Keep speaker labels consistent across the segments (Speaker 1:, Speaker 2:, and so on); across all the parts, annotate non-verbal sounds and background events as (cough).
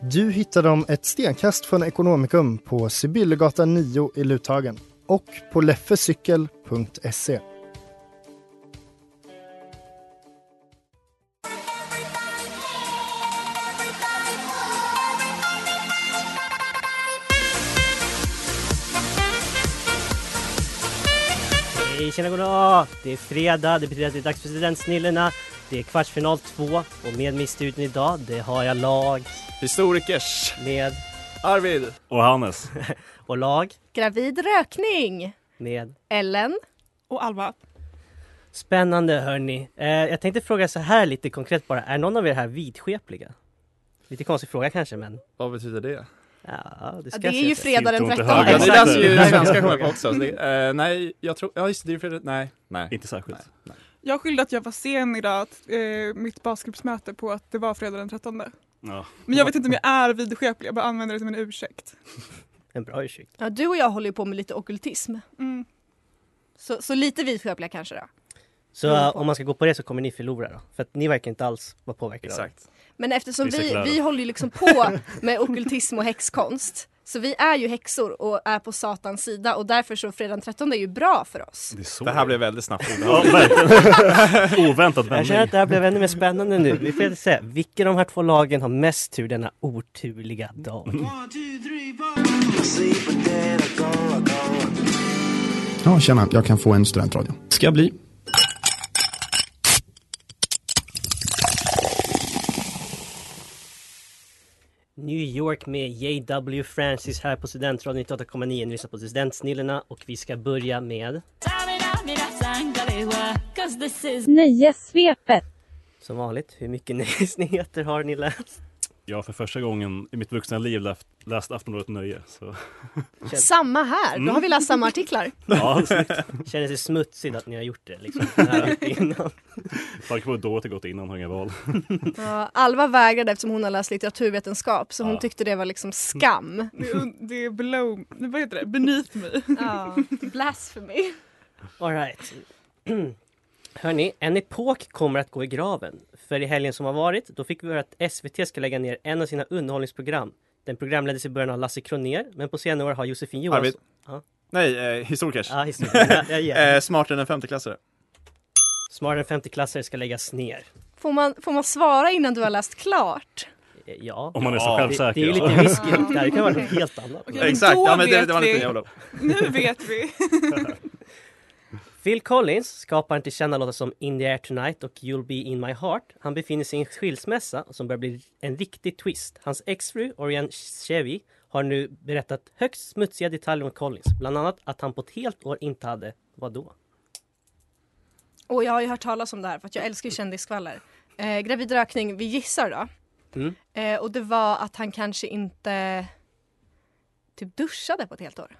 Speaker 1: Du hittar dem ett stenkast från Ekonomikum på Sibyllegatan 9 i Luthagen och på leffecykel.se.
Speaker 2: Hej, tjena, goddag! Det är fredag, det betyder att det är dags för Studentsnillena. Det är kvartsfinal två och med mig i studion idag, det har jag lag
Speaker 3: Historikers
Speaker 2: med
Speaker 3: Arvid
Speaker 4: Och Hannes.
Speaker 2: och lag
Speaker 5: Gravid rökning!
Speaker 2: med.
Speaker 5: Ellen?
Speaker 6: Och Alva,
Speaker 2: Spännande hörni! Eh, jag tänkte fråga så här lite konkret bara, är någon av er här vidskepliga? Lite konstig fråga kanske men,
Speaker 3: Vad betyder det?
Speaker 2: ja, det
Speaker 5: Ja,
Speaker 2: ska jag
Speaker 5: det är
Speaker 2: se
Speaker 5: ju
Speaker 2: sen.
Speaker 5: fredag den
Speaker 4: Inte ont i
Speaker 5: 13.
Speaker 3: Ja,
Speaker 4: Ja,
Speaker 3: det
Speaker 4: exakt.
Speaker 3: läser ju
Speaker 4: (laughs)
Speaker 2: Det är
Speaker 3: svenska
Speaker 2: frågan.
Speaker 3: sjöfolk också så det, eh, Nej, jag tror, ja just det, det, är för- nej, nej
Speaker 4: Inte särskilt.
Speaker 6: jag skyllde att jag var sen idag, att, eh, mitt basgruppsmöte på att det var fredag den 13.
Speaker 4: Ja.
Speaker 6: Men jag vet inte om jag är vidskeplig, jag bara använder det som en ursäkt.
Speaker 2: En bra ursäkt.
Speaker 5: Ja, du och jag håller ju på med lite okultism.
Speaker 6: Mm.
Speaker 5: Så, så lite vidskepliga kanske då.
Speaker 2: Så
Speaker 5: Beror
Speaker 2: eh,
Speaker 5: på.
Speaker 2: om man ska gå på det så kommer ni förlora då, för att ni verkar inte alls vara påverkade av det.
Speaker 3: Exakt
Speaker 5: Men eftersom
Speaker 4: Vi är
Speaker 5: vi,
Speaker 4: sekulära.
Speaker 5: vi håller ju
Speaker 4: (laughs)
Speaker 5: liksom på med okultism och häxkonst. Så vi är ju häxor och är på satans sida och därför så fredag den 13 är ju bra för oss.
Speaker 4: Det, är så.
Speaker 3: Det här blev väldigt snabbt
Speaker 4: Ja,
Speaker 3: obehagligt.
Speaker 4: verkligen. Oväntat
Speaker 2: Jag känner
Speaker 4: vändning.
Speaker 2: att det här blev ännu mer spännande nu. Vi får se vilken av de här två lagen har mest tur denna oturliga dag.
Speaker 7: Ja, tjena. Jag kan få en studentradio. Ska jag bli.
Speaker 2: New York med J.W. Francis här på Studentradion 98,9. Ni lyssnar på Studentsnillena och vi ska börja med,
Speaker 6: Nöje svepet.
Speaker 2: som vanligt, hur mycket (laughs) nyhetsnyheter har ni läst?
Speaker 4: Jag har för första gången i mitt vuxna liv läst, läst Aftonbladet Nöje. Så.
Speaker 5: Samma här, då har vi läst
Speaker 4: Mm.
Speaker 5: samma artiklar.
Speaker 4: (laughs) Ja, snyggt.
Speaker 2: Känner sig smutsigt att ni har gjort det liksom, den här veckan innan.
Speaker 4: Tanken på då att det gått innan har inga val.
Speaker 5: Ja, Alva vägrade eftersom hon har läst litteraturvetenskap så hon
Speaker 4: Ja.
Speaker 5: tyckte det var liksom skam.
Speaker 6: Det är, det är below, nej, vad heter det,
Speaker 4: (laughs)
Speaker 6: beneath mig.
Speaker 5: Ja, blasphemy.
Speaker 2: Alright. (clears throat) Hörni, en epok kommer att gå i graven. För i helgen som har varit, då fick vi höra att SVT ska lägga ner en av sina underhållningsprogram. Den programleddes i början av Lasse Kronér, men på senare år har Josefin Johansson...
Speaker 3: Arvid.
Speaker 2: Ja.
Speaker 3: Nej, eh, historikers
Speaker 2: Ah, Ja, historia. Jag ger.
Speaker 3: eh, Smartare än en femteklassare
Speaker 2: Smartare än 50-klassare ska läggas ner.
Speaker 5: Får man, får man svara innan du har läst klart?
Speaker 2: Eh, Ja.
Speaker 4: Om man är så
Speaker 3: Ja, det-
Speaker 2: Det,
Speaker 4: självsäker.
Speaker 2: det är ju lite
Speaker 4: alltså.
Speaker 2: risky det här. Det kan vara något helt annat.
Speaker 6: Okej. Ja, men
Speaker 3: Exakt,
Speaker 6: då
Speaker 3: ja men det,
Speaker 6: vet
Speaker 3: det var lite
Speaker 6: vi.
Speaker 3: jag lov
Speaker 6: Nu vet vi.
Speaker 2: Phil Collins, skaparen till kända låtar som In the air tonight och You'll be in my heart. Han befinner sig i en skilsmässa som börjar bli en riktig twist. Hans exfru Orion Chevy har nu berättat högst smutsiga detaljer om Collins. Bland annat att han på ett helt år inte hade, vadå?
Speaker 5: Och jag har ju hört talas om det här för att jag
Speaker 6: Mm.
Speaker 5: älskar ju kändisskvaller. Eh, gravid rökning, vi gissar då.
Speaker 2: Mm.
Speaker 5: Eh, och det var att han kanske inte typ duschade på ett helt år.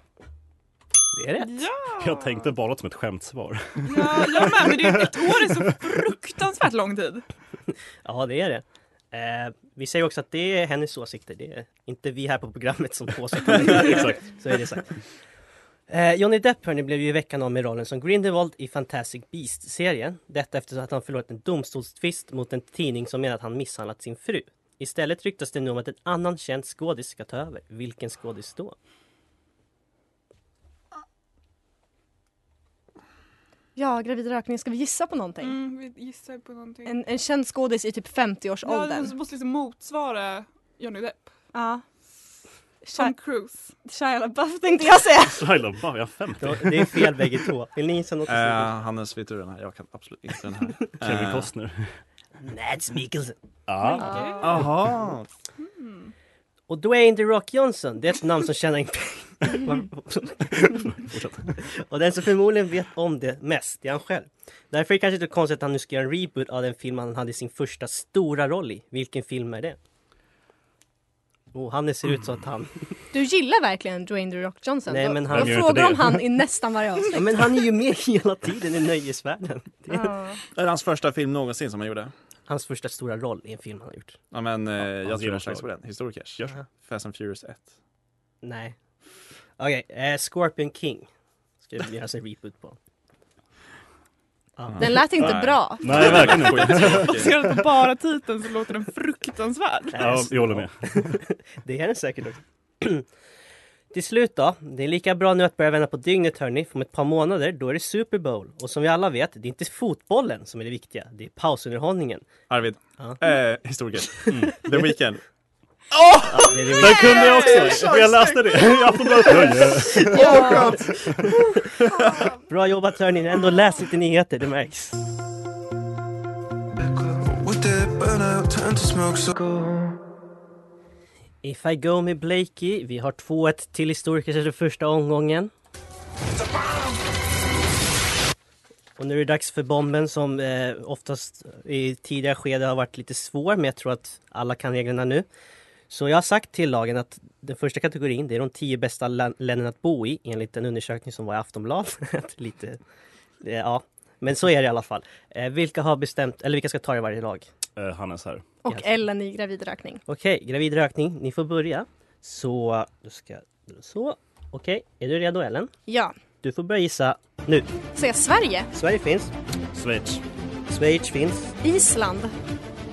Speaker 2: Det är rätt.
Speaker 4: (laughs) Jag tänkte bara som ett skämtsvar. (laughs)
Speaker 6: Ja, jag med, men det är ett år är så fruktansvärt lång tid.
Speaker 2: Ja, det är det. Eh, vi säger också att det är hennes åsikter. Det är inte vi här på programmet som påstår
Speaker 4: (laughs)
Speaker 2: det.
Speaker 4: Exakt.
Speaker 2: Så är det sagt. Eh, Johnny Depp hörni, blev ju i veckan av med rollen som Grindelwald i Fantastic Beast-serien. Detta efter att han förlorat en domstolstvist mot en tidning som menar att han misshandlat sin fru. Istället ryktas det nu om att en annan känd skådis ska ta över. Vilken skådis då?
Speaker 5: Ja, gravid rökning, ska vi gissa på någonting?
Speaker 6: Mm, vi gissar på någonting.
Speaker 5: En, en känd skådis i typ
Speaker 6: ja, det
Speaker 5: 50-årsåldern.
Speaker 6: måste- måste liksom motsvara Johnny Depp.
Speaker 5: Ja.
Speaker 6: Tom Cruise.
Speaker 5: Shia LaBeouf tänkte jag säga.
Speaker 4: Shia LaBeouf, jag har 50.
Speaker 2: Då- Det är fel bägge två. Vill ni gissa något?
Speaker 3: Eh, Hannes, vet du den här? Jag kan absolut inte den här.
Speaker 4: Kevin
Speaker 3: Eh,
Speaker 4: Costner.
Speaker 2: Mads Mikkelsen.
Speaker 4: Ja.
Speaker 3: Aha.
Speaker 6: Mm.
Speaker 2: Och Dwayne The Rock Johnson, det är ett namn som tjänar in pengar.
Speaker 4: Fortsätt.
Speaker 2: och den som förmodligen vet om det mest, det är han själv. Därför är det kanske inte konstigt att han nu ska göra en reboot av den film han hade sin första stora roll i. Vilken film är det? Oh, han ser ut så att han...
Speaker 5: Du gillar verkligen Dwayne The Rock Johnson.
Speaker 2: Nej,
Speaker 5: Då-
Speaker 2: men
Speaker 5: då
Speaker 2: han gör
Speaker 4: inte
Speaker 5: frågar
Speaker 4: det.
Speaker 5: om han i nästan varje
Speaker 6: (laughs)
Speaker 5: avsnitt.
Speaker 2: Ja, men han är ju med (laughs) hela tiden i nöjesvärlden. Det är
Speaker 5: Ja.
Speaker 3: Är det hans första film någonsin som han gjorde?
Speaker 2: hans första stora roll i en film han har gjort.
Speaker 3: Ja men eh, jag tror jag
Speaker 4: genomslag.
Speaker 3: chansar på den. Historikers.
Speaker 4: Gör
Speaker 3: Fast and Furious 1.
Speaker 2: Nej. Okej, eh, Scorpion King ska det göras en reboot på.
Speaker 5: Den lät inte
Speaker 3: Nej.
Speaker 5: bra.
Speaker 4: Nej, verkligen inte.
Speaker 6: (laughs)
Speaker 3: Skittråkig.
Speaker 6: Baserat på bara titeln så låter den fruktansvärd.
Speaker 4: Ja, jag håller med.
Speaker 2: Alltså, (laughs) Det är den säkert också. (clears throat) Till slut då, det är lika bra nu att börja vända på dygnet hörni, för om ett par månader då är det Super Bowl. Och som vi alla vet, det är inte fotbollen som är det viktiga, det är pausunderhållningen.
Speaker 3: Arvid.
Speaker 2: Ja.
Speaker 3: Eh, historikers. The Weeknd.
Speaker 2: Ja, det är det vi-
Speaker 4: Den kunde jag också! Jag läste det i Aftonbladet. Ja, ja.
Speaker 2: Bra jobbat hörni, ni har ändå läst lite nyheter, det märks. If I go med Blakey, vi har 2-1 till historiker efter första omgången. Och nu är det dags för bomben som eh, oftast i tidigare skede har varit lite svår men jag tror att alla kan reglerna nu. Så jag har sagt till lagen att den första kategorin det är de tio bästa län- länen att bo i enligt en undersökning som var i Aftonbladet. (laughs) lite, eh, ja. Men så är det i alla fall. Eh, vilka har bestämt, eller vilka ska ta i varje lag?
Speaker 4: Eh, Hannes här.
Speaker 5: Och
Speaker 2: Yes.
Speaker 5: Ellen i gravidrökning.
Speaker 2: Okej, gravid rökning, ni får börja. Så, då ska så. Okej, är du redo Ellen?
Speaker 5: Ja.
Speaker 2: Du får börja gissa nu.
Speaker 5: Säga Sverige,
Speaker 2: Sverige finns,
Speaker 4: Schweiz.
Speaker 2: Schweiz finns,
Speaker 5: Island,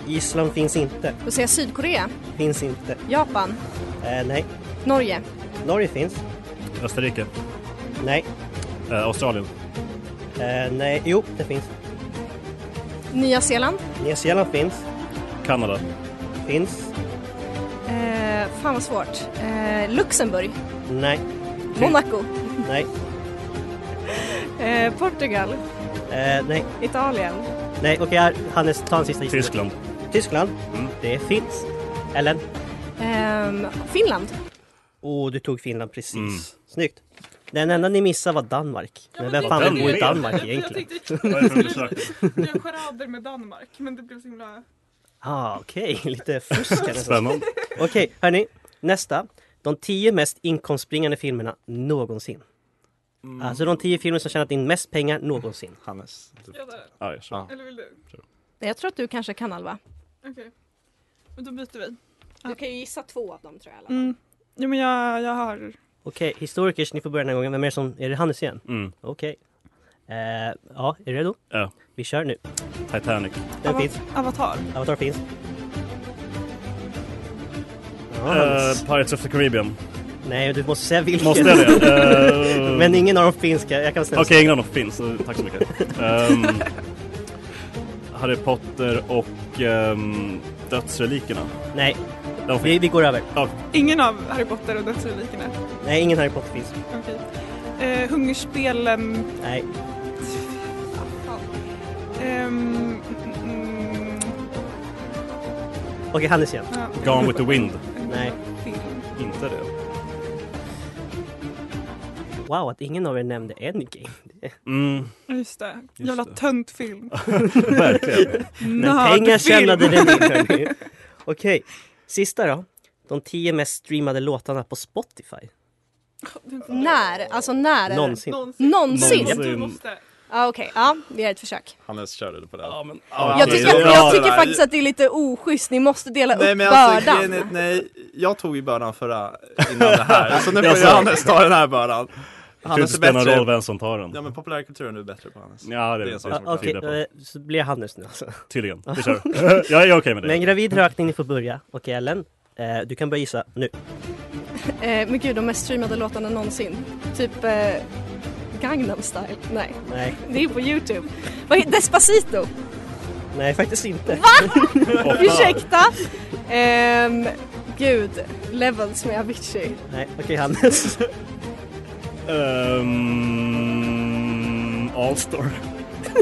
Speaker 2: Island finns inte,
Speaker 5: då säger jag Sydkorea,
Speaker 2: finns inte.
Speaker 5: Japan,
Speaker 2: Eh, nej,
Speaker 5: Norge,
Speaker 2: Norge finns,
Speaker 4: Österrike.
Speaker 2: nej,
Speaker 4: Eh, Australien.
Speaker 2: eh, nej, jo det finns.
Speaker 5: Nya Zeeland.
Speaker 2: Nya Zeeland finns,
Speaker 4: Kanada.
Speaker 2: finns,
Speaker 5: Eh, fan vad svårt. Eh, Luxemburg,
Speaker 2: nej,
Speaker 5: Monaco,
Speaker 2: nej,
Speaker 6: Eh, Portugal,
Speaker 2: eh, nej,
Speaker 6: Italien,
Speaker 2: nej. Okej här, Hannes ta en sista gissning.
Speaker 4: Tyskland.
Speaker 2: Tyskland,
Speaker 4: Mm.
Speaker 2: det finns. Ellen,
Speaker 5: ehm, Finland.
Speaker 2: åh du tog Finland precis.
Speaker 4: Mm.
Speaker 2: Snyggt. Den enda ni missade var Danmark. men vem fan
Speaker 4: det-
Speaker 2: vill bo i
Speaker 4: det-
Speaker 2: Danmark
Speaker 6: Jag
Speaker 2: egentligen?
Speaker 6: tänkte
Speaker 4: (laughs) Vad är det för undersökning?
Speaker 6: göra charader med Danmark men det blev så himla...
Speaker 2: Ah, okej, (laughs) lite fusk här nästan.
Speaker 4: Spännande.
Speaker 2: Okej, hörni. Nästa. De tio mest inkomstbringande filmerna någonsin.
Speaker 4: Mm.
Speaker 2: Alltså de tio filmer som tjänat in mest pengar någonsin.
Speaker 3: Hannes.
Speaker 4: Typ Ja, jag kör.
Speaker 3: Ja.
Speaker 6: Eller vill du?
Speaker 5: Nej, Jag tror att du kanske kan Alva.
Speaker 6: Okej. Men då byter vi.
Speaker 5: Du kan ju gissa två av dem tror jag.
Speaker 6: Mm. Jo men jag, jag har...
Speaker 2: Okej, historikers, ni får börja den här gången. Vem är det som... Är det Hannes igen?
Speaker 4: Mm.
Speaker 2: Okej. Eh, ja, är du redo?
Speaker 4: Ja.
Speaker 2: Vi kör nu.
Speaker 4: Titanic.
Speaker 2: Den finns.
Speaker 6: Avatar.
Speaker 2: Avatar finns. Ja, Hannes.
Speaker 4: Eh, Pirates of the Caribbean.
Speaker 2: Nej, du måste säga vilken.
Speaker 4: Måste jag det?
Speaker 2: (laughs)
Speaker 4: Eh,
Speaker 2: Men ingen av dem finska. Jag kan säga
Speaker 4: Okej, ingen av dem finns. så Tack så mycket.
Speaker 8: (laughs)
Speaker 4: Ehm, Harry Potter och um, Dödsrelikerna.
Speaker 2: Nej,
Speaker 4: De
Speaker 2: vi,
Speaker 4: finns.
Speaker 2: vi går över.
Speaker 6: Ingen av Harry Potter och Dödsrelikerna.
Speaker 2: Nej, ingen Harry Potter finns.
Speaker 6: Okej. Eh, hungerspelen...
Speaker 2: Nej,
Speaker 6: ehm, mm,
Speaker 2: okej Hannes igen.
Speaker 6: ja.
Speaker 4: Gone with the Wind.
Speaker 2: Nej.
Speaker 6: Film.
Speaker 4: Inte det.
Speaker 2: Wow, att ingen av er nämnde Endgame.
Speaker 4: Mm,
Speaker 6: Ja, Just det. Jävla
Speaker 4: det.
Speaker 6: töntfilm.
Speaker 4: (laughs) verkligen.
Speaker 2: Men pengar tjänade den in. hörni. Okej, sista då. De tio mest streamade låtarna på Spotify.
Speaker 5: När? Alltså när? är det?
Speaker 2: Någonsin.
Speaker 6: Någonsin.
Speaker 5: Någonsin?
Speaker 4: Någonsin.
Speaker 6: Du måste.
Speaker 5: Ja, Okej, ja, vi gör ett försök.
Speaker 3: Hannes körde på den.
Speaker 4: Ja, men,
Speaker 5: Jag
Speaker 3: okej,
Speaker 5: tycker,
Speaker 3: det är bra
Speaker 5: jag
Speaker 3: det
Speaker 5: tycker
Speaker 3: där.
Speaker 5: faktiskt att det är lite oschysst, ni måste dela
Speaker 3: Nej
Speaker 5: upp
Speaker 3: men alltså
Speaker 5: bördan.
Speaker 3: grejen är- nej, jag tog ju bördan förra, innan det
Speaker 4: (laughs)
Speaker 3: här. Så nu får
Speaker 4: Jaså?
Speaker 3: jag Hannes ta den här bördan.
Speaker 4: Jag tror inte det
Speaker 3: Hannes är
Speaker 4: spelar någon roll
Speaker 3: bättre.
Speaker 4: vem som tar den.
Speaker 3: Ja men populärkulturen är bättre på Hannes.
Speaker 4: Ja, det,
Speaker 3: Det är
Speaker 4: är
Speaker 3: så.
Speaker 4: så.
Speaker 2: Ja, Okej,
Speaker 4: på.
Speaker 2: eh, så blir jag Hannes nu alltså.
Speaker 3: (laughs)
Speaker 4: Tydligen. Vi kör. (laughs) Jag är okej med
Speaker 2: Men
Speaker 4: det.
Speaker 2: gravid rökning, ni får börja. Okej Ellen, eh, du kan börja gissa nu.
Speaker 5: Eh, men gud, de mest streamade låtarna någonsin. Typ eh, Gangnam style. Nej,
Speaker 2: Nej,
Speaker 5: det är på Youtube. Vad heter Despacito? (laughs)
Speaker 2: nej faktiskt inte.
Speaker 5: Ursäkta! Ehm, Gud, levels med Avicii.
Speaker 2: Nej, okej Hannes.
Speaker 4: Um, Allstar.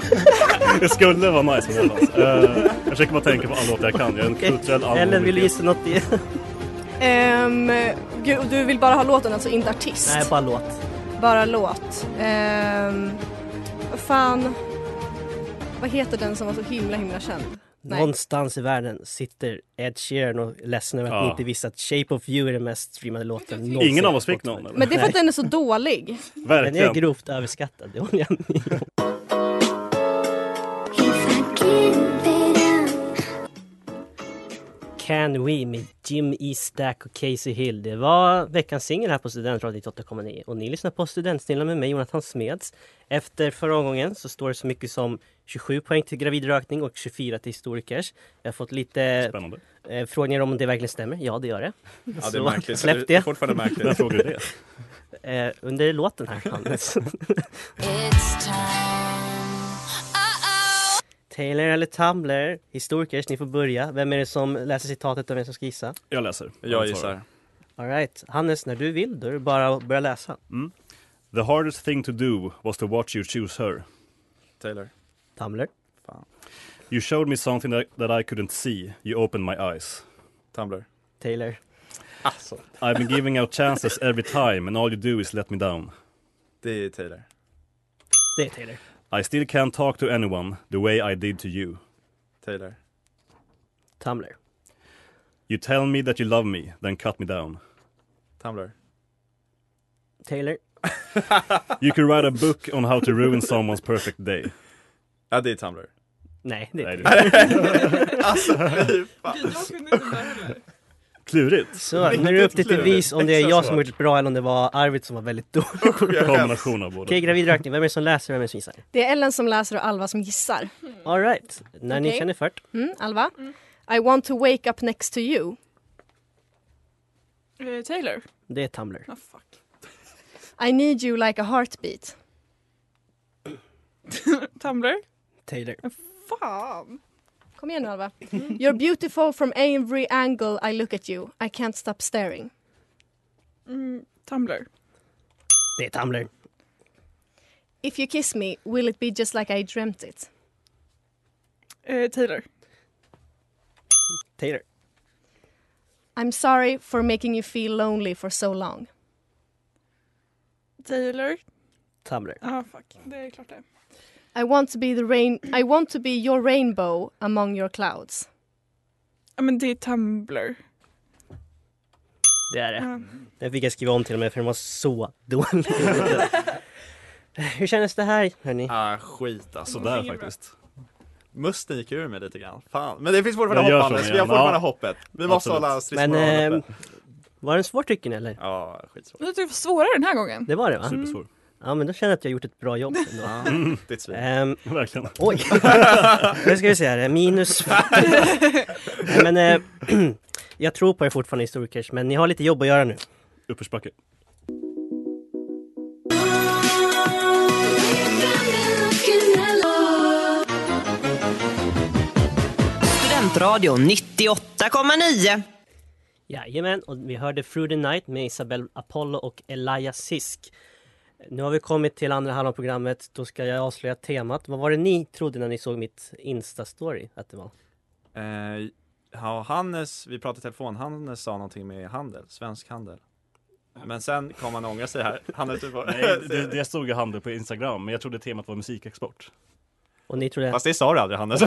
Speaker 4: (laughs) det skulle vara nice om det fanns. Eh, jag försöker bara tänka på alla låtar jag kan. Jag är (laughs) en kulturell
Speaker 2: Ellen, vill du gissa något? I...
Speaker 5: Ehm, gud, och du vill bara ha låten, alltså inte artist?
Speaker 2: Nej, bara låt.
Speaker 5: Bara låt. Ehm, vad fan. Vad heter den som var så himla himla känd? Nej.
Speaker 2: Någonstans i världen sitter Ed Sheeran och är ledsen över att
Speaker 4: Ja.
Speaker 2: ni inte visste att Shape of You är den mest streamade låten någonsin.
Speaker 4: Ingen av oss fick någon. Eller?
Speaker 5: Men det är för att
Speaker 2: Nej.
Speaker 5: den är så dålig.
Speaker 2: Den är
Speaker 4: Verkligen.
Speaker 2: grovt överskattad. Det håller jag med om. Can We med Jim E. Stack och Casey Hill. Det var veckans singel här på Studentradion 98,9. Och ni lyssnar på Studentsnillan med mig, Jonathan Smeds. Efter förra omgången så står det så mycket som 27 poäng till gravidrökning och 24 till historikers. Jag har fått lite
Speaker 4: Spännande.
Speaker 2: eh, frågor om det verkligen stämmer. Ja, det gör det.
Speaker 3: Ja, det är
Speaker 2: Så
Speaker 3: märkligt.
Speaker 2: Släpp
Speaker 3: Det är
Speaker 2: det.
Speaker 3: fortfarande märkligt.
Speaker 4: När såg du det?
Speaker 2: Eh, under låten här, Hannes. Taylor eller Tumbler? Historikers, ni får börja. Vem är det som läser citatet och vem som ska gissa?
Speaker 4: Jag läser.
Speaker 3: Jag gissar.
Speaker 2: All right. Hannes, när du vill, då är det bara att börja läsa.
Speaker 4: The hardest thing to do was to watch you choose her.
Speaker 3: Taylor.
Speaker 2: Tumbler,
Speaker 4: You showed me something that, that I couldn't see. You opened my eyes.
Speaker 3: Tumblr.
Speaker 2: Taylor,
Speaker 3: Alltså.
Speaker 4: I've been giving out chances every time and all you do is let me down.
Speaker 3: Det är Taylor.
Speaker 2: det är Taylor,
Speaker 4: I still can't talk to anyone the way I did to you.
Speaker 3: Taylor.
Speaker 2: Tumbler,
Speaker 4: You tell me that you love me, then cut me down.
Speaker 3: Tumblr.
Speaker 2: Taylor,
Speaker 4: You could write a book on how to ruin someone's perfect day.
Speaker 3: Ja, det är Tumblr.
Speaker 2: nej, det är
Speaker 4: Nej,
Speaker 2: Taylor.
Speaker 4: det är-
Speaker 6: Jag kunde inte den där heller.
Speaker 4: Klurigt!
Speaker 2: Så, nu är det upp till
Speaker 3: Riktigt
Speaker 2: bevis om det är
Speaker 3: klurigt.
Speaker 2: jag
Speaker 3: Extra
Speaker 2: som har gjort det bra eller om det var Arvid som var
Speaker 4: (laughs)
Speaker 2: väldigt dålig. Okej,
Speaker 4: Kombination av båda.
Speaker 2: gravidrökning. Vem är det som läser och vem är det som gissar?
Speaker 5: Det är Ellen som läser och Alva som gissar.
Speaker 2: All right. När ni
Speaker 5: Okej.
Speaker 2: känner för det.
Speaker 5: Mm, Alva? I want to wake up next to you.
Speaker 6: Eh, Taylor?
Speaker 2: Det är Tumbler.
Speaker 6: Ah, fuck.
Speaker 5: I need you like a heartbeat.
Speaker 6: (laughs) Tumblr?
Speaker 2: Taylor.
Speaker 6: Fan!
Speaker 5: Kom igen nu Alva. You're beautiful from every angle I look at you. I can't stop staring.
Speaker 6: Mm, Tumblr?
Speaker 2: Det är Tumbler.
Speaker 5: If you kiss me, will it be just like I dreamt it?
Speaker 6: Eh, Taylor?
Speaker 2: Taylor.
Speaker 5: I'm sorry for making you feel lonely for so long.
Speaker 6: Taylor?
Speaker 2: Tumbler.
Speaker 6: Ah, fuck. Det är klart det.
Speaker 5: I want to be the rain I want to be your rainbow among your clouds.
Speaker 6: Ja, men det är Tumblr.
Speaker 2: Det är det.
Speaker 4: Eh,
Speaker 6: Ja.
Speaker 2: Den fick jag skriva om till och med för den var så (laughs) dålig. Hur kändes det här hörni?
Speaker 3: Ah, skit alltså.
Speaker 4: Sådär faktiskt.
Speaker 3: Musten gick ur mig lite grann. Fan. Men det finns fortfarande
Speaker 4: Jag gör
Speaker 3: hopp
Speaker 4: så
Speaker 3: Anders. Vi har
Speaker 4: igen.
Speaker 3: fortfarande
Speaker 4: Ja.
Speaker 3: hoppet. Vi måste
Speaker 4: Absolut.
Speaker 3: hålla
Speaker 2: Men
Speaker 3: stridsmoralen
Speaker 2: ehm,
Speaker 3: uppe.
Speaker 2: var den svår tycker ni eller?
Speaker 3: Ja, skitsvårt.
Speaker 6: Jag tyckte det var svårare den här gången.
Speaker 4: (laughs)
Speaker 2: Det var det va?
Speaker 4: Supersvår.
Speaker 2: Ja men då känner jag att jag gjort ett bra jobb ändå.
Speaker 3: Ja, det är ett svin.
Speaker 2: Ehm,
Speaker 4: Verkligen.
Speaker 2: Oj! nu ska vi se
Speaker 3: (laughs)
Speaker 2: här, minus... Nej, men, eh, (clears throat) jag tror på er fortfarande historikers, men ni har lite jobb att göra nu.
Speaker 4: Uppförsbacke.
Speaker 9: Studentradion 98,9.
Speaker 2: Jajamän, och vi hörde Through the Night med Isabel Apollo och Elia Sisk. Nu har vi kommit till andra halvan av programmet, då ska jag avslöja temat. Vad var det ni trodde när ni såg mitt Insta-story att det var?
Speaker 3: Eh, ja, Hannes, vi pratade i telefon, Hannes sa någonting med handel, svensk handel. Men sen kom han ångra sig här. Hannes, du får...
Speaker 4: Nej, det, det stod i handen på Instagram, men jag trodde temat var musikexport.
Speaker 2: Och ni trodde...
Speaker 3: Fast det sa du aldrig Hannes.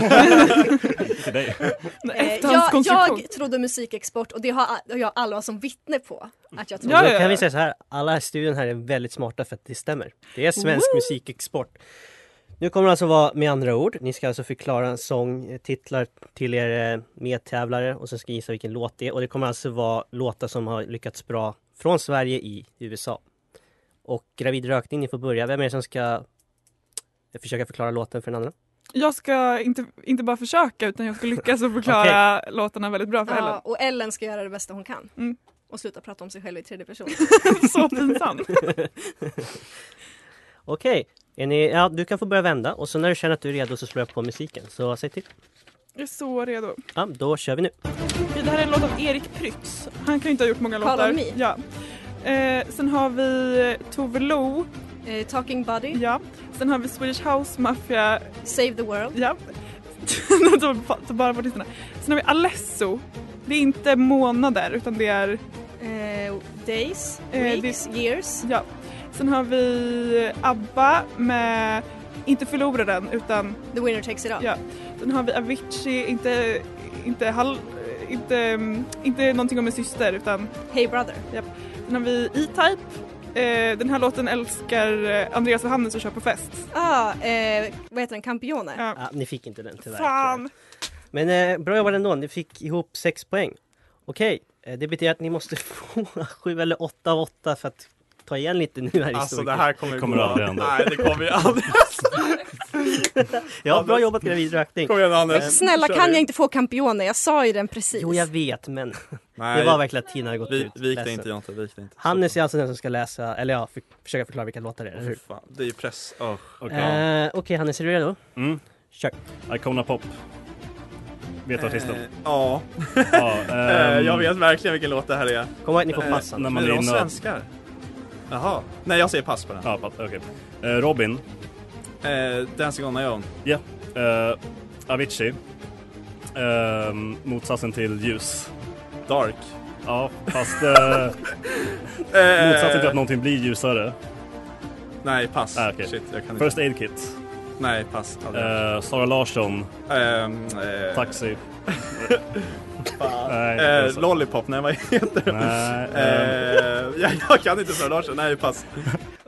Speaker 4: Till dig.
Speaker 5: Eh,
Speaker 6: Eh,
Speaker 5: jag,
Speaker 6: Efterhandskonstruktion.
Speaker 5: jag trodde musikexport och det har a- jag Alva som vittne på att jag trodde.
Speaker 6: Ja,
Speaker 2: då
Speaker 6: ja,
Speaker 2: kan
Speaker 6: ja.
Speaker 2: vi säga så här, alla i studion här är väldigt smarta för att det stämmer. Det är svensk musikexport. Nu kommer det alltså vara med andra ord. Ni ska alltså förklara sångtitlar till er eh, medtävlare och sen ska ni gissa vilken låt det är. Och det kommer alltså vara låtar som har lyckats bra från Sverige i USA. Och Gravid rökning, ni får börja. Vem är det som ska eh, försöka förklara låten för den andra?
Speaker 6: Jag ska inte, inte bara försöka utan jag ska lyckas och förklara låtarna väldigt bra för
Speaker 5: Ja,
Speaker 6: Ellen.
Speaker 5: och Ellen ska göra det bästa hon kan.
Speaker 6: Mm.
Speaker 5: Och sluta prata om sig själv i tredje person.
Speaker 6: (laughs) Så pinsamt.
Speaker 2: Okej, är ni- ja, du kan få börja vända och så när du känner att du är redo så slår jag på musiken. Så säg till.
Speaker 6: Jag är så redo.
Speaker 2: Ja, då kör vi nu.
Speaker 6: Okej, det här är en låt av Erik Prytz. Han kan ju inte ha gjort många
Speaker 5: Call
Speaker 6: låtar.
Speaker 5: on me.
Speaker 6: Ja. Eh, sen har vi eh, Tove Lo.
Speaker 5: Eh, talking Buddy.
Speaker 6: Ja. Sen har vi Swedish House Mafia.
Speaker 5: Save the world.
Speaker 6: Ja. (laughs) Nu tar jag bara bort listorna. Sen har vi Alesso. Det är inte månader utan det är...
Speaker 5: Eh, days,
Speaker 6: Eh, det-
Speaker 5: weeks, years.
Speaker 6: Ja. Sen har vi ABBA med, inte förloraren utan...
Speaker 5: The winner takes it all.
Speaker 6: Ja. Sen har vi Avicii, inte, inte, hal, inte, inte någonting om en syster utan...
Speaker 5: Hey brother.
Speaker 6: Japp. Sen har vi E-Type. Eh, den här låten älskar eh, Andreas och Hannes och kör på fest.
Speaker 5: Ah, eh, vad heter den? Campione.
Speaker 2: Ja, ni fick inte den tyvärr.
Speaker 6: Fan!
Speaker 2: Men eh, bra jobbat ändå, ni fick ihop sex poäng. Okej, eh, det betyder att ni måste (laughs) få sju eller åtta av åtta för att ta igen lite nu här i
Speaker 3: Alltså det
Speaker 2: historiken.
Speaker 3: här kommer, ju
Speaker 4: Kommer
Speaker 3: gå.
Speaker 4: aldrig hända.
Speaker 3: Nej, det kommer ju aldrig.
Speaker 2: Ja, bra
Speaker 3: Anders.
Speaker 2: jobbat gravidrökning.
Speaker 3: Kom igen Anders.
Speaker 5: Men Alltså, snälla
Speaker 3: Ehm, Kör
Speaker 5: kan
Speaker 3: vi.
Speaker 5: jag inte få Campione? Jag sa ju den precis.
Speaker 2: Jo, jag vet, men
Speaker 3: Nej.
Speaker 2: det var verkligen att Tina hade gått
Speaker 3: Vi-
Speaker 2: ut.
Speaker 3: vik dig
Speaker 2: Ledsen.
Speaker 3: inte, Jonte, vik dig inte.
Speaker 2: Hannes är alltså den som ska läsa, eller ja, för, försöka förklara vilka låtar det är, eller hur?
Speaker 3: Fan, det är ju press. Oh.
Speaker 2: Eh, Okej, Hannes, är du redo?
Speaker 4: Mm.
Speaker 2: Kör.
Speaker 4: Icona Pop. Vet du artisten?
Speaker 3: Eh, ja.
Speaker 4: Ja,
Speaker 3: Eh,
Speaker 4: ehm.
Speaker 3: jag vet verkligen vilken låt det här är.
Speaker 2: Kom ihåg att ni får
Speaker 3: Eh,
Speaker 2: passa.
Speaker 4: när man
Speaker 3: är
Speaker 4: är
Speaker 3: de
Speaker 4: inne och-
Speaker 3: svenskar? Jaha. Nej, jag säger pass på den.
Speaker 4: Ja, papp, okej. Eh, Robin.
Speaker 3: Eh, Dancing on my own.
Speaker 4: Ja. Eh, Avicii. Eh, motsatsen till ljus.
Speaker 3: Dark.
Speaker 4: Ja, fast...
Speaker 3: (laughs)
Speaker 4: Eh, motsatsen till att någonting blir ljusare.
Speaker 3: Eh, Nej, pass.
Speaker 4: Ah, okej.
Speaker 3: Shit, jag kan
Speaker 4: First
Speaker 3: inte.
Speaker 4: Aid Kit.
Speaker 3: Nej, pass. Aldrig.
Speaker 4: Eh, Sara Larsson.
Speaker 3: Ehm, eh,
Speaker 4: Taxi.
Speaker 3: (laughs) Fan.
Speaker 4: Nej,
Speaker 3: Eh,
Speaker 4: det är så.
Speaker 3: Lollipop, nej vad heter den?
Speaker 4: Nej, ehm,
Speaker 3: Eh, (laughs) jag, jag kan inte Sara Larsson, nej pass.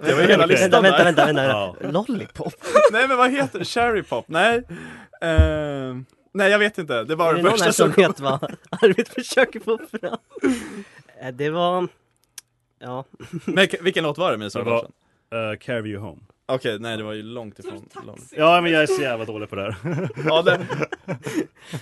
Speaker 3: Det var ju hela
Speaker 4: Okej.
Speaker 3: listan där.
Speaker 2: Vänta, vänta, vänta, vänta.
Speaker 4: Ja.
Speaker 2: vänta. Lollipop?
Speaker 3: Nej men vad heter det? Cherry Pop? Nej. Ehm, nej jag vet inte, det var
Speaker 2: Är
Speaker 3: det
Speaker 2: det någon här
Speaker 3: första som
Speaker 2: som
Speaker 3: kom.
Speaker 2: vet vad Arvid försöker få fram? Eh, Det var... Ja,
Speaker 3: Men k- vilken låt var det med Sara
Speaker 4: Det var-
Speaker 3: Larsson?
Speaker 4: Eh, carry you home.
Speaker 3: Okej, nej det var ju långt ifrån. Långt.
Speaker 4: Ja, men jag är så jävla dålig på det här.
Speaker 3: Ja, det...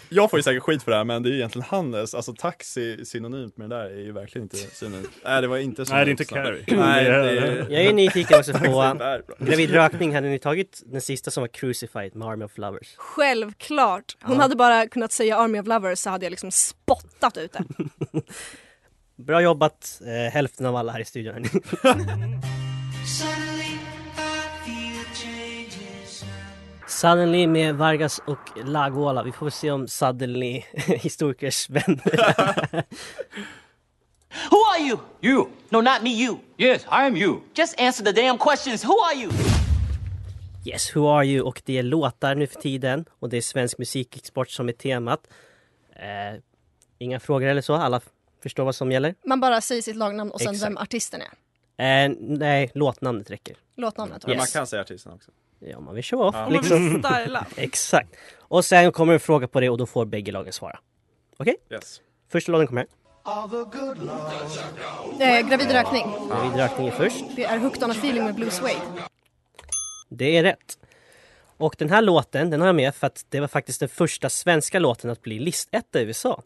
Speaker 3: Jag får ju säkert skit för det här men det är ju egentligen Hannes, alltså taxi synonymt med det där är ju verkligen inte synonymt. Nej det var inte synonymt.
Speaker 4: Nej, det är inte
Speaker 3: snabbt.
Speaker 4: Carrie.
Speaker 3: Nej, det är...
Speaker 2: jag är nyfiken också på
Speaker 3: Det är bra.
Speaker 2: gravidrökning. Hade ni tagit den sista som var Crucified med Army of Flowers?
Speaker 5: Självklart. Hon hade bara kunnat säga Army of Lovers så hade jag liksom spottat ut det.
Speaker 2: Bra jobbat eh, hälften av alla här i studion. hörni. Suddenly med Vargas och Lagola. Vi får väl se om Suddenly (laughs) historikers vänner.
Speaker 9: Who are you? You. No, not me, you. Yes, I am you. Just answer the damn questions. Who are you?
Speaker 2: Yes, Who Are You och det är låtar nu för tiden och det är svensk musikexport som är temat. Eh, inga frågor eller så, alla f- förstår vad som gäller.
Speaker 5: (laughs) Man bara säger sitt lagnamn och sen
Speaker 2: Exakt.
Speaker 5: vem artisten är.
Speaker 2: Eh, nej, låtnamnet räcker.
Speaker 5: Låtnamnet.
Speaker 3: Men man
Speaker 2: Yes.
Speaker 3: kan säga artisten också.
Speaker 2: Ja, om man vill show off.
Speaker 3: Ja.
Speaker 6: Om man
Speaker 2: Liksom.
Speaker 6: (laughs) vill styla.
Speaker 2: Exakt. Och sen kommer en fråga på det och då får bägge lagen svara. Okej?
Speaker 3: Yes.
Speaker 2: Första lagen kommer.
Speaker 5: Eh, gravid rökning.
Speaker 2: David Rökning är först.
Speaker 5: Det är Hooked on a feeling med Blue Suede.
Speaker 2: Det är rätt. Och den här låten, den har jag med för att det var faktiskt den första svenska låten att bli listetta i USA.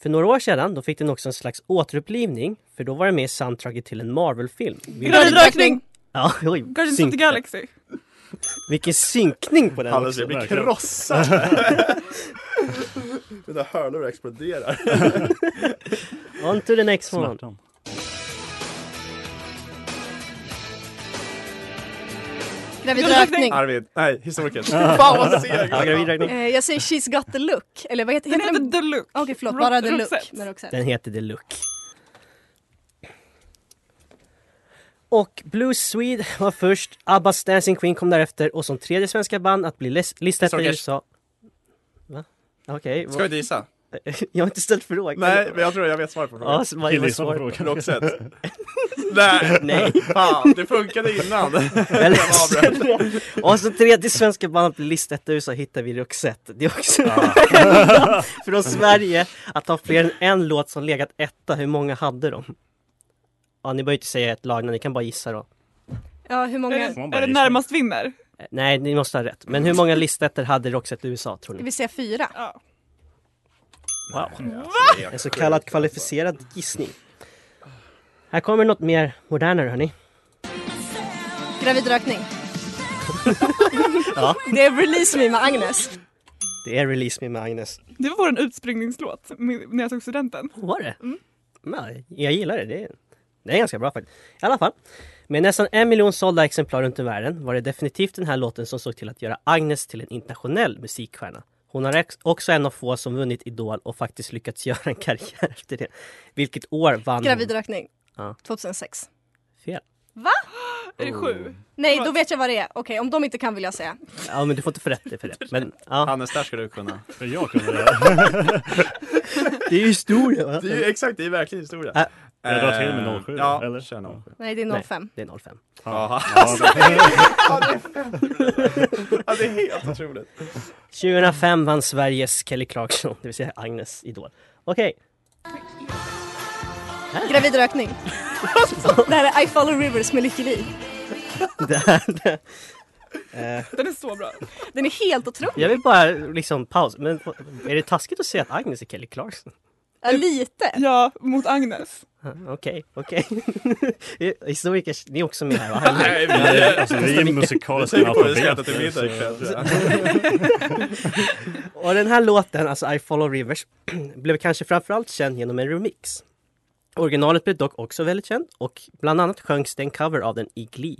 Speaker 2: För några år sedan, då fick den också en slags återupplivning, för då var den med i soundtracket till en Marvel-film.
Speaker 6: Gravid rökning!
Speaker 2: Ja, oj,
Speaker 6: Guardians of the
Speaker 2: synkning.
Speaker 6: Galaxy.
Speaker 2: Vilken synkning på den
Speaker 3: Hannes,
Speaker 2: också!
Speaker 3: jag blir
Speaker 4: verkligen.
Speaker 3: krossad! Mina hörlurar exploderar.
Speaker 2: On to the next one!
Speaker 4: Smärtan.
Speaker 5: Gravid
Speaker 6: Gravid rökning.
Speaker 5: rökning.
Speaker 3: Arvid, nej, historikern. Fan vad seg!
Speaker 2: Ja, gravid rökning.
Speaker 5: Eh, jag säger She's got the look. Eller vad heter,
Speaker 6: Den
Speaker 5: heter
Speaker 6: heter The Look.
Speaker 5: Okej förlåt, bara The look.
Speaker 6: Roxette.
Speaker 5: med Roxette.
Speaker 2: Den heter The Look. Och Blue Swede var först, Abbas Dancing Queen kom därefter och som tredje svenska band att bli les- listetta i
Speaker 3: Stalkers.
Speaker 2: USA... Va? Okej,
Speaker 3: Ska vi inte gissa?
Speaker 2: (laughs) jag har inte ställt frågan.
Speaker 3: Nej, men jag tror jag vet svaret på
Speaker 2: Ja,
Speaker 3: frågan.
Speaker 2: så vad
Speaker 4: Kille
Speaker 2: är
Speaker 4: som
Speaker 2: svaret?
Speaker 3: (laughs)
Speaker 4: frågar.
Speaker 3: Roxette. Nej,
Speaker 2: Nej.
Speaker 3: fan, det funkade innan.
Speaker 2: (laughs) Eller,
Speaker 3: var
Speaker 2: (laughs) och så tredje svenska bandet på listetta i USA hittar vi Roxette. Det är också
Speaker 3: Ah.
Speaker 2: (laughs) från Sverige att ha fler än en låt som legat etta. Hur många hade de? Ja, ni behöver inte säga ett lag, ni kan bara gissa då.
Speaker 5: Ja, hur många?
Speaker 6: Är
Speaker 4: Får
Speaker 6: det,
Speaker 4: man bara
Speaker 6: Eh, är det
Speaker 4: gissa?
Speaker 6: närmast vinner?
Speaker 2: Eh, Nej, ni måste ha rätt. Men hur många listettor hade Roxette i USA tror ni?
Speaker 5: Vi säger fyra.
Speaker 6: Ja.
Speaker 2: Wow. En så kallad kvalificerad gissning. Här kommer något mer modernare hörni.
Speaker 5: (laughs) Gravid rökning.
Speaker 2: Ja.
Speaker 5: Det är Release Me med Agnes.
Speaker 2: Det är Release Me med Agnes.
Speaker 6: Det var vår utspringningslåt med- när jag tog studenten.
Speaker 2: Var det?
Speaker 6: Mm.
Speaker 2: Nej, jag gillar det. det. är- Det är ganska bra faktiskt. I alla fall. Med nästan en miljon sålda exemplar runt i världen var det definitivt den här låten som såg till att göra Agnes till en internationell musikstjärna. Hon är ex- också en av få som vunnit Idol och faktiskt lyckats (laughs) göra en karriär efter det. Vilket år vann
Speaker 5: Gravidrökning.
Speaker 2: hon? Ja,
Speaker 5: 2006.
Speaker 2: fel.
Speaker 5: Va?
Speaker 6: Är det sju?
Speaker 5: Nej, då vet jag vad det är. Okej, om de inte kan vill jag säga.
Speaker 2: Ja, men du får inte för rätt dig för det. Men, ja.
Speaker 3: Hannes, där ska du kunna.
Speaker 4: Jag kunde det.
Speaker 2: det är ju historia va?
Speaker 3: Det är ju exakt, det är verkligen historia. Eh,
Speaker 2: Ja.
Speaker 4: Jag drar till med 07,
Speaker 3: ja,
Speaker 4: eller?
Speaker 3: Kör 07.
Speaker 5: Nej, det är 05.
Speaker 2: Nej, det är 05.
Speaker 3: Jaha.
Speaker 4: Ja,
Speaker 3: Alltså, det är- (laughs) ja, det är fem. Ja, det är helt otroligt.
Speaker 2: 2005 vann Sveriges Kelly Clarkson, det vill säga Agnes Idol. Okej.
Speaker 3: (laughs)
Speaker 5: Gravidrökning. det här är I follow rivers med Lykke Li.
Speaker 2: Det här- det- eh,
Speaker 6: Den är så bra.
Speaker 5: Den är helt otrolig.
Speaker 2: jag vill bara liksom pausa, men är det taskigt att säga att Agnes är Kelly Clarkson?
Speaker 5: Ja, lite.
Speaker 6: Ja, mot Agnes.
Speaker 2: Ah, Okej, okej. (laughs) Historiker, ni är också med här va?
Speaker 3: Nej, vi-
Speaker 4: Nej, alltså, vi är musikaliskt
Speaker 3: Jag tänker på hur vi ska äta
Speaker 4: analfabeter,
Speaker 3: till middag
Speaker 4: så-
Speaker 3: ikväll. tror jag.
Speaker 2: Och den här låten, alltså I follow rivers, (clears throat) blev kanske framförallt känd genom en remix. Originalet blev dock också väldigt känd och bland annat sjöngs det en cover av den i Glee.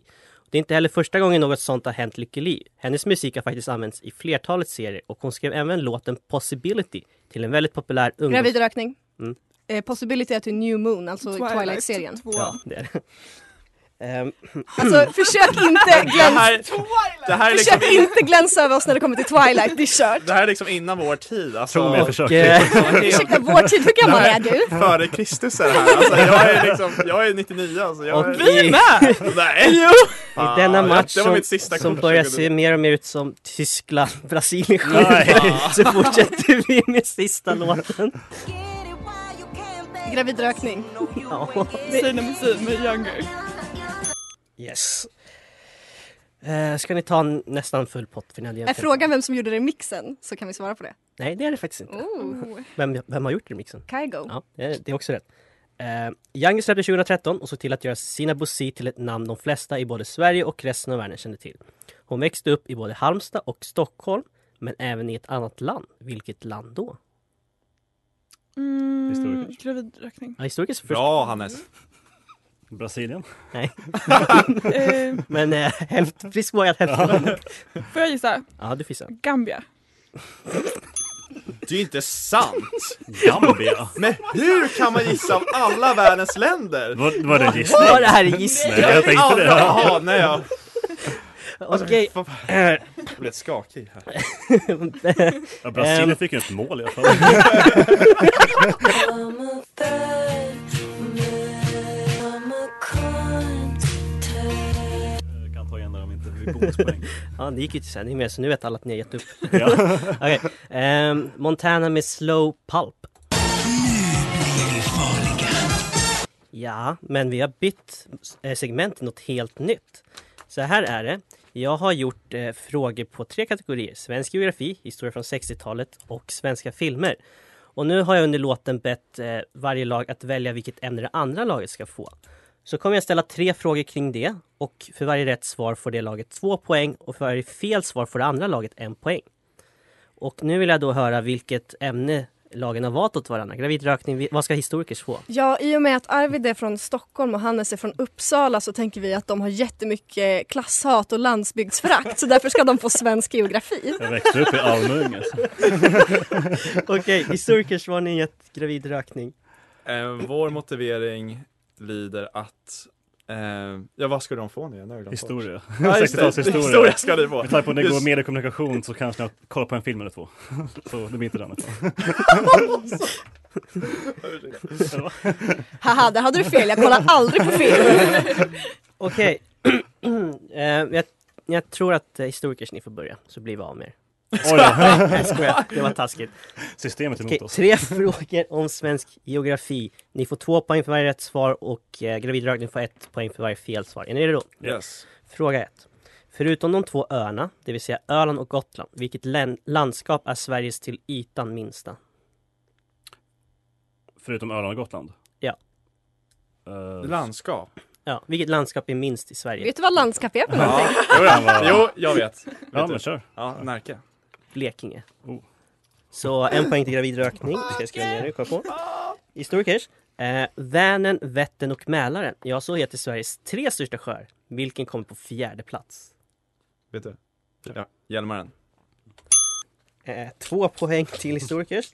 Speaker 2: Det är inte heller första gången något sånt har hänt Lykke Li. Hennes musik har faktiskt använts i flertalet serier och hon skrev även låten Possibility till en väldigt populär ungdoms...
Speaker 5: Gravidrökning.
Speaker 2: Mm.
Speaker 5: Eh, possibility är till New Moon, alltså
Speaker 6: Twilight.
Speaker 5: Twilight-serien.
Speaker 6: Två.
Speaker 2: Ja, det är det. Ehm,
Speaker 5: Alltså försök inte
Speaker 3: Det
Speaker 5: glänsa,
Speaker 3: här, det här är liksom
Speaker 5: försök inte glänsa över oss när det kommer till Twilight, det är kört.
Speaker 3: Det här är liksom innan vår tid. Alltså,
Speaker 4: Tror mig, jag försöker.
Speaker 2: eh, (laughs)
Speaker 5: Ursäkta, vår tid, hur gammal är du?
Speaker 3: Före Kristus är det här. Alltså, jag är liksom, jag är 99 alltså. Jag
Speaker 2: Och
Speaker 3: är...
Speaker 2: vi är
Speaker 3: med! (laughs) Nej! Ah,
Speaker 2: I denna match
Speaker 3: det var
Speaker 2: som,
Speaker 3: mitt sista
Speaker 2: som
Speaker 3: kort,
Speaker 2: börjar
Speaker 3: försöker
Speaker 2: se mer och mer ut som Tyskland, (laughs) Brasilien
Speaker 4: Nej.
Speaker 2: skjuter så fortsätter vi med sista låten.
Speaker 5: Gravidrökning.
Speaker 2: Ja.
Speaker 6: Sina musik med Younger.
Speaker 2: Yes. Eh, ska ni ta en nästan full pott? För ni hade
Speaker 5: Är
Speaker 2: egentligen-
Speaker 5: frågan vem som gjorde remixen så kan vi svara på det.
Speaker 2: Nej, det är det faktiskt inte.
Speaker 5: Oh,
Speaker 2: Vem, vem har gjort remixen?
Speaker 5: Kygo.
Speaker 2: Ja, det är, det är också rätt. Eh, Young släpptes 2013 och såg till att göra Sina Bosi till ett namn de flesta i både Sverige och resten av världen kände till. Hon växte upp i både Halmstad och Stockholm, men även i ett annat land. Vilket land då?
Speaker 6: Mm,
Speaker 4: Historiker.
Speaker 6: gravidrökning.
Speaker 2: Ja, historiskt först,
Speaker 3: Bra Hannes!
Speaker 4: Brasilien?
Speaker 6: Eh,
Speaker 2: men eh, (laughs) hälften frisk var jag att hälften.
Speaker 6: får jag gissa?
Speaker 2: Ja, du fissar.
Speaker 6: Gambia.
Speaker 3: Det är ju inte sant!
Speaker 4: Gambia?
Speaker 3: Men hur kan man gissa av alla världens länder?
Speaker 4: Var, var det en gissning?
Speaker 2: Var det här en gissning?
Speaker 4: Nej, jag tänkte det.
Speaker 3: Jaha, nej jag...
Speaker 2: Okej.
Speaker 3: Fan, fan.
Speaker 4: Eh.
Speaker 3: Jag blev skakig här.
Speaker 4: Ja, Brasilien
Speaker 2: Ehm.
Speaker 4: fick ju ett mål i alla fall. kan ta igen där om inte vi bonuspoäng.
Speaker 2: Ja, det gick ju till sändning med så nu vet alla att ni har gett upp.
Speaker 4: Ja.
Speaker 2: (laughs) Okej. ehm, Montana med Slow Pulp. Ja, men vi har bytt eh, segment till något helt nytt. Så här är det. Jag har gjort eh, frågor på tre kategorier. Svensk geografi, historia från 60-talet och svenska filmer. Och nu har jag under låten bett eh, varje lag att välja vilket ämne det andra laget ska få. Så kommer jag ställa tre frågor kring det och för varje rätt svar får det laget två poäng och för varje fel svar får det andra laget en poäng. Och nu vill jag då höra vilket ämne lagen har valt åt varandra. Gravidrökning, vi- vad ska historikers få?
Speaker 5: Ja, i och med att Arvid är från Stockholm och Hannes är från Uppsala så tänker vi att de har jättemycket klasshat och landsbygdsförakt så därför ska de få svensk geografi.
Speaker 4: Jag växte upp i alltså. Almunge. så-
Speaker 2: (laughs) Okej, historikers, vad har ni gett gravidrökning?
Speaker 3: Eh, vår motivering lyder att... Eh, ja, vad ska de få nu? Jag har glömt bort.
Speaker 4: Historia.
Speaker 3: Ja, just det.
Speaker 4: 60-talshistoria.
Speaker 3: Historia ska ni få.
Speaker 4: Med tanke på att det går
Speaker 3: Just-
Speaker 4: med i kommunikation så kanske jag kollar på en film eller två. (laughs) Så det blir inte den.
Speaker 5: Haha, där hade du fel. Jag kollar aldrig på film.
Speaker 2: (laughs) Okej, (clears throat) eh, jag, jag tror att eh, historikers ni får börja, så blir vi av med er. (laughs)
Speaker 4: Oj då,
Speaker 2: Jag skojar, det var taskigt.
Speaker 4: systemet är
Speaker 2: Okej,
Speaker 4: emot oss.
Speaker 2: tre (laughs) frågor om svensk geografi. Ni får två poäng för varje rätt svar och eh, gravidrökning får ett poäng för varje fel svar. Är ni redo?
Speaker 3: Yes.
Speaker 2: Fråga 1. Förutom de två öarna, det vill säga Öland och Gotland, vilket län- landskap är Sveriges till ytan minsta?
Speaker 4: Förutom Öland och Gotland.
Speaker 2: Ja.
Speaker 4: Uh,
Speaker 3: Landskap.
Speaker 2: Ja, vilket landskap är minst i Sverige?
Speaker 5: Vet du vad landskap är för någonting?
Speaker 3: Ja. Jo, jag- jo, jag vet.
Speaker 4: Ja
Speaker 3: Vet du?
Speaker 4: men kör.
Speaker 3: Ja, Närke.
Speaker 2: Blekinge.
Speaker 4: Oh.
Speaker 2: Så en poäng till gravidrökning. Det Ska jag skriva ner nu, kom på. Historiker. Eh, Vänern, Vättern och Mälaren. Ja, så heter Sveriges tre största sjöar. Vilken kommer på fjärde plats?
Speaker 3: Vet du? Ja, Hjälmaren.
Speaker 2: Eh, två poäng till historiker.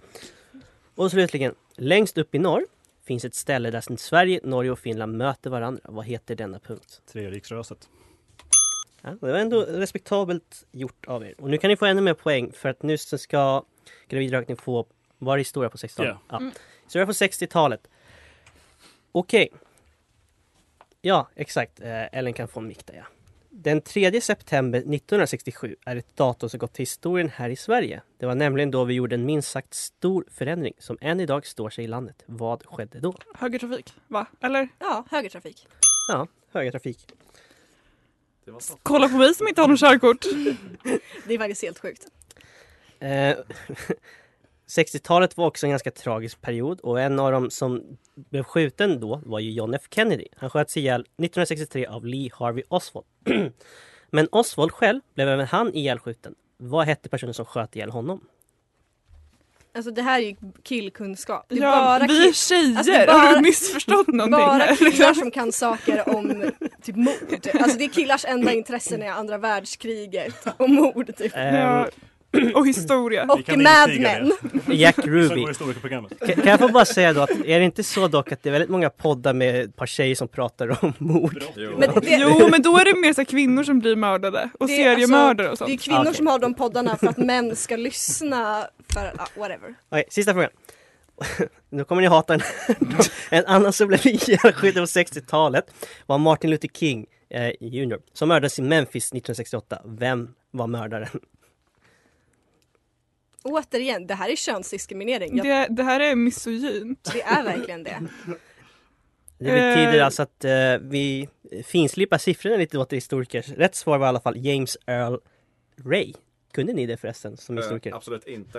Speaker 2: Och slutligen, längst upp i norr finns ett ställe där Sverige, Norge och Finland möter varandra. Vad heter denna punkt?
Speaker 4: Treriksröset.
Speaker 2: Ja, det var ändå respektabelt gjort av er. Och nu kan ni få ännu mer poäng för att nu så ska gravidrökning få... Var det historia på 60-talet?
Speaker 4: Ja.
Speaker 2: Ja.
Speaker 4: Mm.
Speaker 2: Historia på 60-talet. Okej. Ja, exakt. Eh, Ellen kan få en mick där, ja. Den 3 september 1967 är ett datum som gått till historien här i Sverige. Det var nämligen då vi gjorde en minst sagt stor förändring som än idag står sig i landet. Vad skedde då?
Speaker 6: Högertrafik, va? Eller?
Speaker 5: Ja, högertrafik.
Speaker 2: Ja, högertrafik.
Speaker 6: Kolla på mig som inte har något körkort.
Speaker 5: Det är faktiskt helt sjukt.
Speaker 2: Eh, (laughs) 60-talet var också en ganska tragisk period och en av dem som blev skjuten då var ju John F Kennedy. Han sköts ihjäl 1963 av Lee Harvey Oswald. (clears throat) Men Oswald själv blev även han ihjälskjuten. Vad hette personen som sköt ihjäl honom?
Speaker 5: Alltså det här är ju killkunskap. Det är
Speaker 6: Ja,
Speaker 5: bara
Speaker 6: vi är
Speaker 5: kill-
Speaker 6: tjejer.
Speaker 5: Alltså, det är
Speaker 6: Har du missförstått någonting
Speaker 5: Bara Alltså, killar
Speaker 6: här, (laughs)
Speaker 5: (laughs)
Speaker 6: liksom?
Speaker 5: som kan saker om typ mord. Alltså det är killars enda intressen är andra världskriget och mord typ.
Speaker 2: Ehm.
Speaker 6: Ja. Och historia.
Speaker 5: Och Vi kan Mad intyga det.
Speaker 2: (laughs)
Speaker 5: Men.
Speaker 2: Jack
Speaker 3: (laughs)
Speaker 4: Så går
Speaker 2: Ruby.
Speaker 4: historikerprogrammet.
Speaker 2: Kan, kan jag få bara säga då att är det inte så dock att det är väldigt många poddar med ett par tjejer som pratar om mord?
Speaker 5: Men det-
Speaker 6: Jo, men då är det mer så här kvinnor som blir mördade och
Speaker 5: Det är alltså-
Speaker 6: seriemördare och sånt.
Speaker 5: Det är kvinnor
Speaker 2: Okej.
Speaker 5: som har de poddarna för att män ska lyssna för, ja, whatever.
Speaker 2: Okej, sista frågan. (laughs) Nu kommer ni hata den här. (laughs) En annan som blev ihjälskjuten på 60-talet var Martin Luther King eh, Jr. Som mördades i Memphis 1968. Vem var mördaren?
Speaker 5: Återigen, det här är könsdiskriminering. Jag,
Speaker 6: Det, det här är misogynt.
Speaker 5: det är verkligen (laughs) det.
Speaker 2: Det betyder
Speaker 6: Eh.
Speaker 2: alltså att eh, vi finslipar siffrorna lite åt er historiker. Rätt svar var i alla fall James Earl Ray. Kunde ni det förresten som historiker?
Speaker 3: Eh, absolut inte. (laughs)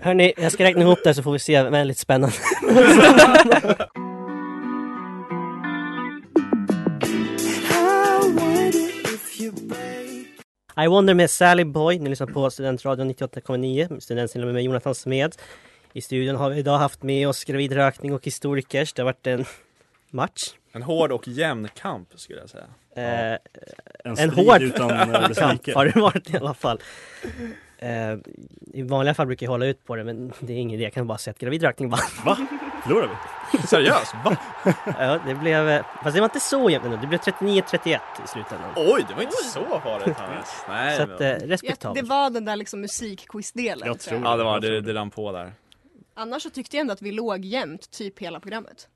Speaker 2: Hörni, jag ska räkna ihop det här så får vi se. Väldigt spännande. I Wonder med Sally Boy. Ni lyssnar på Studentradion 98,9. Studentsnillen med mig Jonathan Smed. I studion har vi idag haft med oss gravidrökning och historikers. Det har varit en match.
Speaker 3: En hård och jämn kamp skulle jag säga.
Speaker 2: Eh, en,
Speaker 3: strid
Speaker 2: hård
Speaker 3: utan, eh, dess
Speaker 2: kamp
Speaker 3: like.
Speaker 2: har det varit i alla fall. Eh, I vanliga fall brukar jag hålla ut på det men det är ingen idé. Jag kan bara säga att gravidrökning vann.
Speaker 4: Va? Förlorade
Speaker 2: vi?
Speaker 3: Seriöst?
Speaker 2: Va? ja, det blev... eh, Fast det var inte så jämnt ändå. Det blev 39-31 i slutändan.
Speaker 3: Oj, det var inte så farligt Hannes. Nej,
Speaker 2: Så att, eh, respektabelt.
Speaker 5: det var den där liksom musikquizdelen. tror jag.
Speaker 3: Ja, det var det. Det rann på där.
Speaker 5: Annars så tyckte jag ändå att vi låg jämnt typ hela programmet.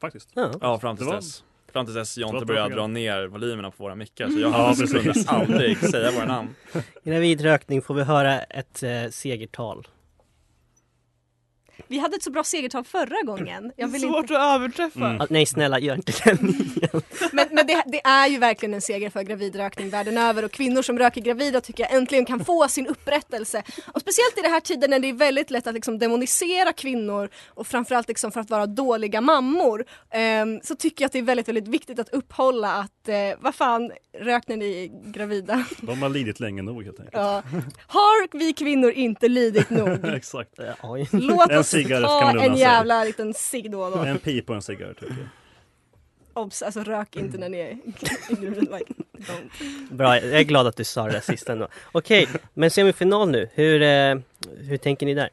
Speaker 4: Faktiskt.
Speaker 3: Ja, fram till
Speaker 4: Det var-
Speaker 3: dess. Fram till dess Jonte
Speaker 4: bra
Speaker 3: började dra
Speaker 4: program.
Speaker 3: ner volymerna på våra mickar så jag
Speaker 4: Mm. Ja, precis.
Speaker 3: kunde
Speaker 2: (laughs)
Speaker 3: aldrig säga våra namn.
Speaker 2: Gravidrökning får vi höra ett eh, segertal.
Speaker 5: Vi hade ett så bra segertal förra gången. Jag vill
Speaker 6: Svårt
Speaker 5: inte...
Speaker 6: att överträffa.
Speaker 2: Ah, nej snälla, gör inte det.
Speaker 5: Men, men det, det är ju verkligen en seger för gravidrökning världen över och kvinnor som röker gravida tycker jag äntligen kan få sin upprättelse. Och speciellt i den här tiden när det är väldigt lätt att liksom demonisera kvinnor och framförallt liksom för att vara dåliga mammor ehm, så tycker jag att det är väldigt, väldigt viktigt att upphålla att eh, vad fan, rök när ni är gravida.
Speaker 4: De har lidit länge nog helt enkelt.
Speaker 5: Ja. Har vi kvinnor inte lidit
Speaker 4: (laughs)
Speaker 5: nog?
Speaker 4: Exakt.
Speaker 5: Låt
Speaker 4: en
Speaker 5: oss
Speaker 4: cigarett kan
Speaker 5: ta
Speaker 4: man
Speaker 5: en
Speaker 4: unna
Speaker 5: jävla liten cigg då och
Speaker 4: sig.
Speaker 5: då.
Speaker 4: En pip och en cigarr tycker jag.
Speaker 5: Obs, alltså rök inte när ni är (laughs) like, don't.
Speaker 2: Bra, jag är glad att du sa det där sist ändå. Okej, men semifinal nu. Hur, eh, hur tänker ni där?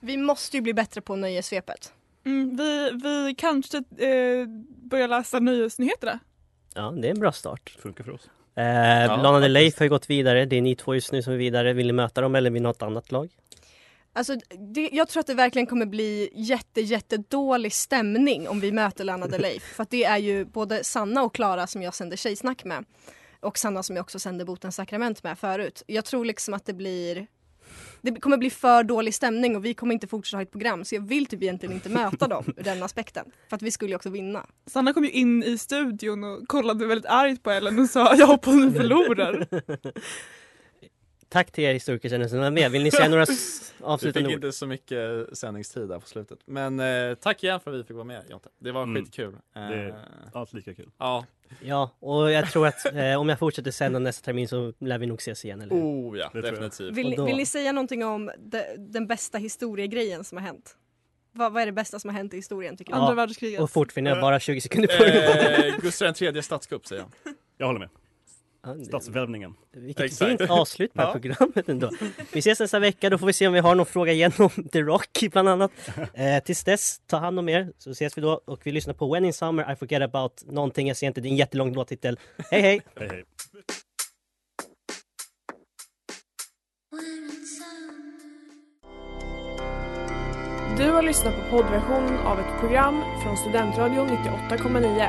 Speaker 5: Vi måste ju bli bättre på nöjesvepet.
Speaker 6: Mm, vi, vi kanske eh, börjar läsa nyhetsnyheterna.
Speaker 2: Ja, det är en bra start.
Speaker 4: Funkar för oss.
Speaker 2: Eh,
Speaker 4: Ja,
Speaker 2: Lana Del Rey har ju gått vidare. Det är ni två just nu som är vidare. Vill ni möta dem eller vill ni ha ett annat lag?
Speaker 5: Alltså, det, jag tror att det verkligen kommer bli jätte, jätte dålig stämning om vi möter Lana
Speaker 2: (laughs)
Speaker 5: Del Rey. För att det är ju både Sanna och Klara som jag sänder tjejsnack med. Och Sanna som jag också sände Botens sakrament med förut. Jag tror liksom att det blir det kommer bli för dålig stämning och vi kommer inte fortsätta ha ett program så jag vill typ egentligen inte möta dem ur den aspekten. För att vi skulle ju också vinna.
Speaker 6: Sanna kom ju in i studion och kollade väldigt argt på Ellen och sa jag hoppas ni förlorar.
Speaker 2: (laughs) Tack till er historikerkännare som var med. Vill ni säga
Speaker 4: (laughs)
Speaker 2: några s-
Speaker 3: (laughs) Vi
Speaker 2: avslutande
Speaker 3: fick
Speaker 2: ord?
Speaker 3: inte så mycket sändningstid där på slutet. Men eh, tack igen för att vi fick vara med Jonte. Det var
Speaker 4: Mm.
Speaker 3: skitkul. Eh,
Speaker 4: Det är allt lika kul.
Speaker 3: Ja.
Speaker 2: Ja, och jag tror att eh, om jag fortsätter sända nästa termin så lär vi nog ses igen, eller hur?
Speaker 3: Oh ja, Det tror jag. definitivt.
Speaker 2: Och
Speaker 5: Vill,
Speaker 2: då-
Speaker 5: vill ni säga någonting om de, den bästa historiegrejen som har hänt? Vad, vad är det bästa som har hänt i historien tycker ni?
Speaker 2: Ja, Och fortfarande har jag bara 20 sekunder på
Speaker 3: Eh, Gustav den tredje statskupp säger jag.
Speaker 4: Jag håller med.
Speaker 2: det-
Speaker 4: Statsvälvningen.
Speaker 2: Vilket fint avslut på det här programmet ändå. Vi ses nästa vecka, då får vi se om vi har någon fråga igen om The Rocky bland annat. Eh, tills dess, ta hand om er, så ses vi då. Och vi lyssnar på When in Summer I Forget About någonting, jag ser inte, det är en jättelång låttitel. Hej hej!
Speaker 4: hej, hej.
Speaker 10: Du har lyssnat på poddversion av ett program från Studentradion 98,9.